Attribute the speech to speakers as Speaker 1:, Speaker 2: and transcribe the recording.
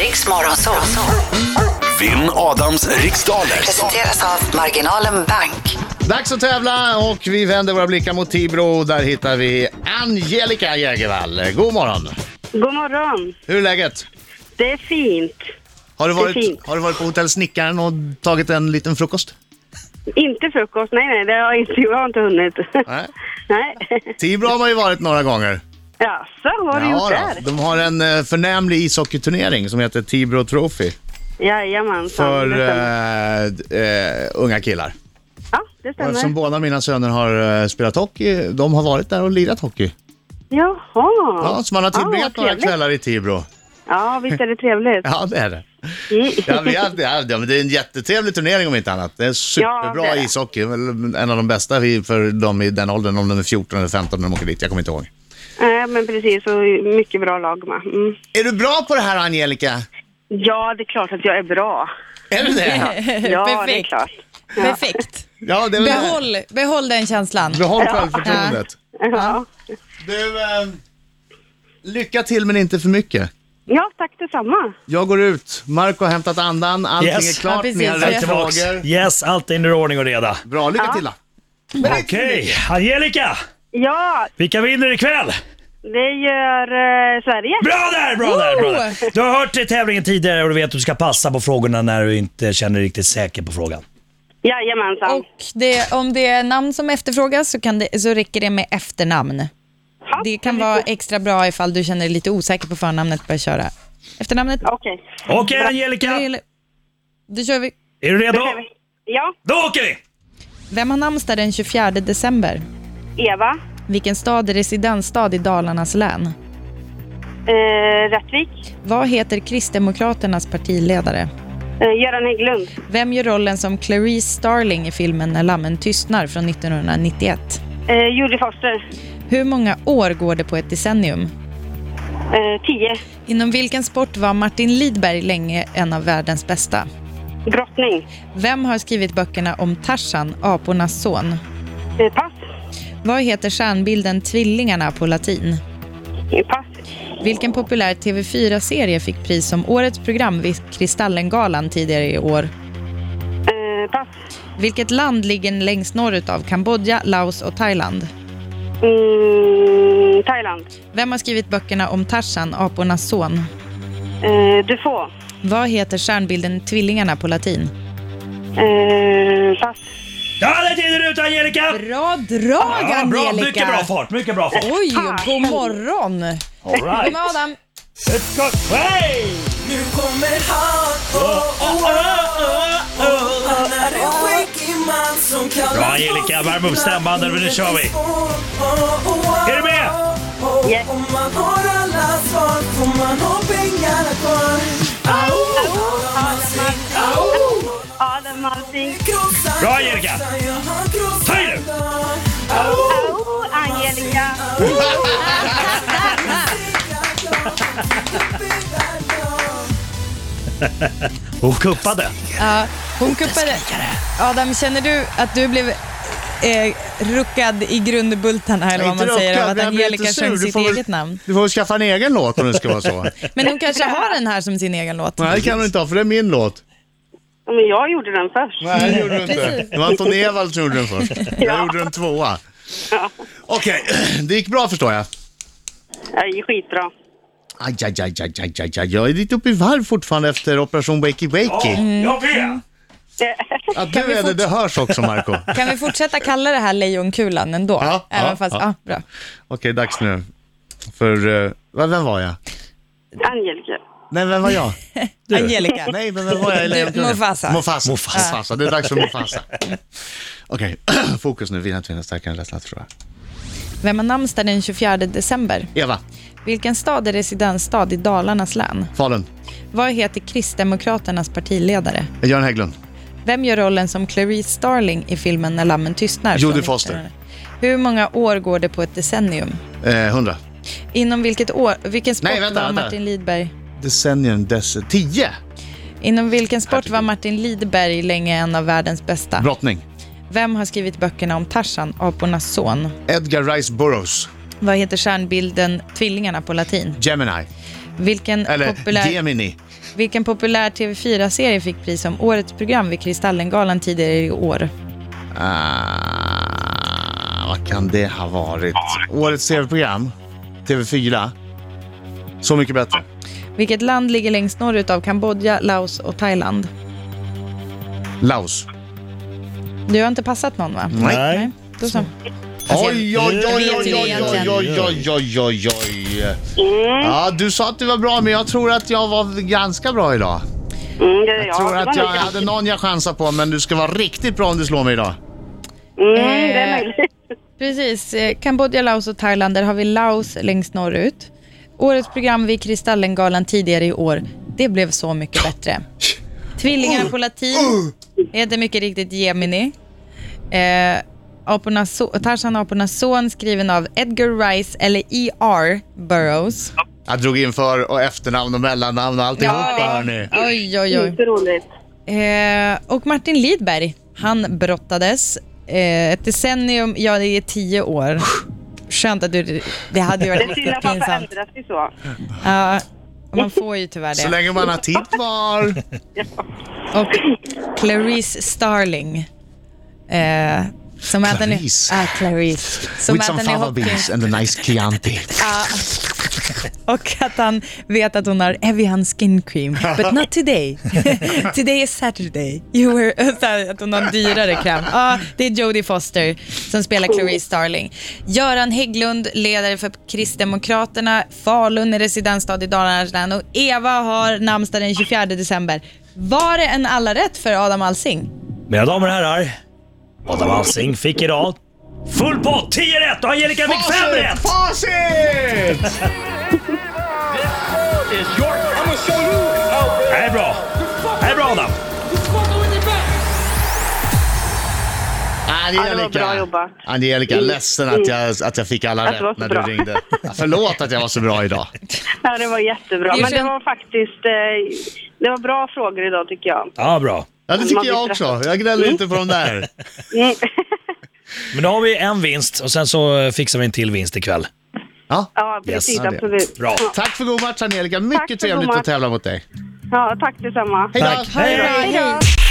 Speaker 1: Riks Morgonzoo.
Speaker 2: Vinn Adams riksdaler.
Speaker 1: Presenteras av Marginalen Bank.
Speaker 3: Dags att tävla och vi vänder våra blickar mot Tibro. Där hittar vi Angelica Jägervall. God morgon!
Speaker 4: God morgon.
Speaker 3: Hur är läget?
Speaker 4: Det är fint.
Speaker 3: Har du,
Speaker 4: Det är
Speaker 3: varit,
Speaker 4: fint.
Speaker 3: har du varit på hotell Snickaren och tagit en liten frukost?
Speaker 4: Inte frukost. Nej, nej, det har jag inte, jag har inte hunnit.
Speaker 3: Nej.
Speaker 4: nej.
Speaker 3: Tibro har man ju varit några gånger.
Speaker 4: Jaså, vad har du gjort
Speaker 3: Ja, då.
Speaker 4: där?
Speaker 3: de har en eh, förnämlig ishockeyturnering som heter Tibro Trophy
Speaker 4: Jajamensan.
Speaker 3: för
Speaker 4: det stämmer.
Speaker 3: eh, d- eh, unga killar.
Speaker 4: ja, det
Speaker 3: Och eftersom
Speaker 4: stämmer.
Speaker 3: båda mina söner har eh, spelat hockey, de har varit där och lirat hockey.
Speaker 4: Jaha.
Speaker 3: Ja, så man har tillbringat
Speaker 4: vad
Speaker 3: några
Speaker 4: trevligt.
Speaker 3: kvällar i Tibro.
Speaker 4: Ja, visst är det trevligt.
Speaker 3: Ja, det är det.
Speaker 4: Mm.
Speaker 3: Ja, vi har, ja, men det är en jättetrevlig turnering om inte annat. Det är superbra
Speaker 4: Ja, det är det.
Speaker 3: ishockey. Väl En av de bästa vi- för dem i den åldern, om de är 14 eller 15 när de åker dit. Jag kommer inte ihåg.
Speaker 4: Nej, Eh, men precis. Och mycket bra lag med. Mm.
Speaker 3: Är du bra på det här Angelica?
Speaker 4: Ja, det är klart att jag är bra.
Speaker 3: Är du det?
Speaker 4: Ja, det är
Speaker 5: Perfekt.
Speaker 4: klart.
Speaker 5: Perfekt.
Speaker 3: Ja, det är väl-
Speaker 5: Behåll, behåll den känslan.
Speaker 3: Behåll självförtroendet.
Speaker 4: Ja.
Speaker 3: Du, eh, lycka till men inte för mycket.
Speaker 4: ja, tack detsamma.
Speaker 3: Jag går ut. Marco har hämtat andan. Allting
Speaker 6: Yes.
Speaker 3: är klart.
Speaker 5: Ja, precis.
Speaker 3: Ni har
Speaker 5: Jag är
Speaker 3: rätt
Speaker 6: Tillbaks.
Speaker 3: frågor.
Speaker 6: Yes, allt är under ordning och reda.
Speaker 3: Bra, lycka till då.
Speaker 6: Okej, Angelica!
Speaker 4: Ja,
Speaker 6: Vilka vinner ikväll?
Speaker 4: det gör eh, Sverige.
Speaker 6: Bra där, bra där, bra där! Du har hört i tävlingen tidigare och du vet att du ska passa på frågorna när du inte känner dig riktigt säker på frågan.
Speaker 4: Jajamensan.
Speaker 5: Och det, om det är namn som efterfrågas så, kan det, så räcker det med efternamn.
Speaker 4: Ja,
Speaker 5: Det kan vara extra bra ifall du känner dig lite osäker på förnamnet. Börja köra efternamnet.
Speaker 4: Okej.
Speaker 6: Okej Angelica,
Speaker 5: Då kör vi.
Speaker 6: är du redo?
Speaker 4: Ja,
Speaker 6: Då åker vi!
Speaker 5: Vem har namnsdag den 24 december?
Speaker 4: Eva.
Speaker 5: Vilken stad är residensstad i Dalarnas län?
Speaker 4: Eh, Rättvik.
Speaker 5: Vad heter Kristdemokraternas partiledare?
Speaker 4: Eh, Göran Hägglund.
Speaker 5: Vem gör rollen som Clarice Starling i filmen När lammen tystnar från 1991?
Speaker 4: Eh, Judy Foster.
Speaker 5: Hur många år går det på ett decennium?
Speaker 4: Eh, 10.
Speaker 5: Inom vilken sport var Martin Lidberg länge en av världens bästa?
Speaker 4: Brottning.
Speaker 5: Vem har skrivit böckerna om Tarzan, apornas son?
Speaker 4: Eh, pass.
Speaker 5: Vad heter stjärnbilden Tvillingarna på latin?
Speaker 4: Eh, pass.
Speaker 5: Vilken populär TV4-serie fick pris som årets program vid Kristallengalan tidigare i år?
Speaker 4: Eh, pass.
Speaker 5: Vilket land ligger längst norrut av Kambodja, Laos och Thailand?
Speaker 4: Mm, Thailand.
Speaker 5: Vem har skrivit böckerna om Tarzan, apornas son?
Speaker 4: Eh, Dufour.
Speaker 5: Vad heter stjärnbilden Tvillingarna på latin?
Speaker 4: Eh, pass.
Speaker 6: Ja, det är tiden ute Angelica!
Speaker 5: Bra drag,
Speaker 6: Ja, bra,
Speaker 5: Angelica!
Speaker 6: mycket bra fart, mycket bra fart.
Speaker 5: Oj, god morgon!
Speaker 6: All right.
Speaker 5: Kom Adam!
Speaker 6: Let's go! Hey!
Speaker 7: Nu kommer han, oh, oh, oh, oh. Han är en skäggig man som kallas
Speaker 6: Bra, Angelica, värm upp stämbanden, men nu kör vi. Är du med?
Speaker 4: Yes.
Speaker 7: Om man har alla svar får man ha pengarna kvar Au, Adam Alsing, au
Speaker 4: Adam Alsing.
Speaker 7: Krossar,
Speaker 6: Bra, Angelica.
Speaker 7: krossar, ja, han krossar
Speaker 6: Ta i nu.
Speaker 7: dem. Au,
Speaker 4: Au, Angelica.
Speaker 7: au, au. Han segrar, ja, han segrar, ja.
Speaker 6: Hon kuppade.
Speaker 5: Ja, hon kuppade. Adam, känner du att du blev eh, ruckad i grundbultarna eller vad man
Speaker 3: Inte
Speaker 5: säger
Speaker 3: ruckad,
Speaker 5: av att
Speaker 3: men jag blir inte
Speaker 5: Angelica
Speaker 3: sur.
Speaker 5: sjöng
Speaker 3: Du
Speaker 5: sitt
Speaker 3: får väl-
Speaker 5: eget namn?
Speaker 3: Du får väl skaffa en egen låt om det ska vara så.
Speaker 5: Men hon kanske har den här som sin egen låt?
Speaker 3: Nej, det kan du inte ha för det är min låt.
Speaker 4: Ja, Men jag gjorde den först.
Speaker 3: Nej, det gjorde du inte. Det var Anton Ewald som gjorde den först. Jag gjorde den tvåa. Okej, det gick bra förstår jag.
Speaker 4: Ja, det är skitbra.
Speaker 3: Aj, aj, aj, aj, aj, aj, aj. Jag är lite uppe i varv fortfarande efter operation Wakey Wakey.
Speaker 5: Mm.
Speaker 6: Jag vet!
Speaker 3: Att du är det, det hörs också Marco. Okej,
Speaker 5: Kan vi fortsätta kalla det här Lejonkulan ändå?
Speaker 3: Ja,
Speaker 5: Även
Speaker 3: ja,
Speaker 5: fast,
Speaker 3: ja.
Speaker 5: ja. bra.
Speaker 3: dags nu. För, uh, vem var jag?
Speaker 4: Angelica.
Speaker 3: Nej, vem var jag?
Speaker 5: Angelica.
Speaker 3: Nej, men vem var jag i Lejonkungen?
Speaker 5: Mufasa.
Speaker 3: Mufasa. Mufasa. Det är dags för Mufasa. Okej, fokus nu. Vinna, tvinna, starkare än rädsla, tror
Speaker 5: Vem har namnsdag den 24 december?
Speaker 3: jag. Eva,
Speaker 5: Vilken stad är residensstad i Dalarnas län?
Speaker 3: Falun,
Speaker 5: Vad heter Kristdemokraternas partiledare?
Speaker 3: Göran Hägglund.
Speaker 5: Vem gör rollen som Clarice Starling i filmen När lammen tystnar?
Speaker 3: Jodie
Speaker 5: från
Speaker 3: Foster.
Speaker 5: 1900? Hur många år går det på ett decennium?
Speaker 3: Eh, 100.
Speaker 5: Inom vilket år, vilken sport
Speaker 3: Nej, vänta,
Speaker 5: var
Speaker 3: vänta.
Speaker 5: Martin Lidberg?
Speaker 3: Decennium, dess... 10.
Speaker 5: Inom vilken sport var Martin Lidberg länge en av världens bästa?
Speaker 3: Brottning.
Speaker 5: Vem har skrivit böckerna om Tarzan, apornas son?
Speaker 3: Edgar Rice Burroughs.
Speaker 5: Vad heter stjärnbilden Tvillingarna på latin?
Speaker 3: Gemini.
Speaker 5: Vilken
Speaker 3: Eller
Speaker 5: populär...
Speaker 3: Gemini.
Speaker 5: Vilken populär TV4-serie fick pris som årets program vid Kristallengalan tidigare i år?
Speaker 3: Ah, vad kan det ha varit? Årets tv-program? TV4? Så mycket bättre.
Speaker 5: Vilket land ligger längst norrut av Kambodja, Laos och Thailand?
Speaker 3: Laos.
Speaker 5: Du har inte passat någon va?
Speaker 3: Nej.
Speaker 5: Då så.
Speaker 4: Mm,
Speaker 3: Oj, oj, oj, oj,
Speaker 5: Alltså, vet
Speaker 3: oj,
Speaker 5: ju
Speaker 3: oj, oj, oj,
Speaker 5: egentligen.
Speaker 3: oj, oj, oj,
Speaker 4: Mm.
Speaker 3: oj. Ja, du sa att du var bra, men jag tror att jag var ganska bra idag.
Speaker 4: Mm, det, ja,
Speaker 3: Jag tror
Speaker 4: det var
Speaker 3: att jag
Speaker 4: nog bra.
Speaker 3: hade någon jag chansade på, men du ska vara riktigt bra om du slår mig idag.
Speaker 4: Mm, det är
Speaker 5: Eh,
Speaker 4: möjligt.
Speaker 5: Precis. Eh, Kambodja, Laos och Thailand. Där har vi Laos längst norrut. Årets program vid Kristallengalan tidigare i år. Det blev så mycket bättre. Tvillingar på latin heter mycket riktigt Gemini. Eh, apornas, so- Tarzan apornas son skriven av Edgar Rice eller E.R. Burroughs.
Speaker 3: Jag drog in för och efternamn och mellannamn och alltihopa.
Speaker 5: det-
Speaker 3: hörni.
Speaker 5: Oj, oj, oj.
Speaker 4: Inte roligt.
Speaker 5: Eh, och Martin Lidberg, han brottades. Eh, ett decennium, ja det är tio år. Skönt att du, det hade ju
Speaker 4: Det
Speaker 5: varit
Speaker 4: är synd
Speaker 5: riktigt
Speaker 4: att man
Speaker 5: pinsamt.
Speaker 4: förändras ju så.
Speaker 5: Ja, man får ju tyvärr
Speaker 3: Så
Speaker 5: det.
Speaker 3: länge man har tid kvar.
Speaker 5: Och Clarice Starling. Eh, som att den är...
Speaker 3: Clarice.
Speaker 5: Ah, Clarice. Som
Speaker 3: With
Speaker 5: att
Speaker 3: some
Speaker 5: den är
Speaker 3: fava
Speaker 5: hockey.
Speaker 3: beans and a nice Chianti.
Speaker 5: Och att han vet att hon har Evian skin cream. But not today. today is Saturday. You were... Så här, att hon har en dyrare kräm. Ja, det är Jodie Foster som spelar Clarice Starling. Göran Hägglund, ledare för Kristdemokraterna. Falun är residensstad i Dalarnas län. Och Eva har namnsdag den 24 december. Var det en alla rätt för Adam Alsing?
Speaker 6: Mina damer och herrar, Adam Alsing fick idag full pott, 10 rätt och Angelica fick 5 rätt!
Speaker 3: Facit!
Speaker 6: Det här är bra. Det här är bra Adam.
Speaker 4: Ja, det var bra
Speaker 3: Angelica,
Speaker 4: jobbat.
Speaker 3: Angelica ledsen att jag, att jag fick alla
Speaker 4: Att det var
Speaker 3: rätt
Speaker 4: så
Speaker 3: när
Speaker 4: bra.
Speaker 3: du ringde. Ja, Förlåt att jag var så bra idag.
Speaker 4: Ja, det var jättebra.
Speaker 5: Det
Speaker 4: Men det
Speaker 5: kän-
Speaker 4: var faktiskt... Eh, det var bra frågor idag tycker jag.
Speaker 6: Ja, bra.
Speaker 3: Ja, det tycker jag också. Jag gnäller inte på de där.
Speaker 4: Mm.
Speaker 6: Men då har vi en vinst och sen så fixar vi en till vinst ikväll.
Speaker 3: Ja.
Speaker 4: ja, precis.
Speaker 3: Ja, det-
Speaker 4: absolut.
Speaker 6: Bra.
Speaker 4: Ja.
Speaker 3: Tack för god match Angelica. Mycket
Speaker 4: för god
Speaker 3: trevligt att
Speaker 4: match.
Speaker 3: tävla mot dig.
Speaker 4: Ja, tack detsamma.
Speaker 3: Hej då!
Speaker 6: Tack. Hej då.
Speaker 5: Hej då!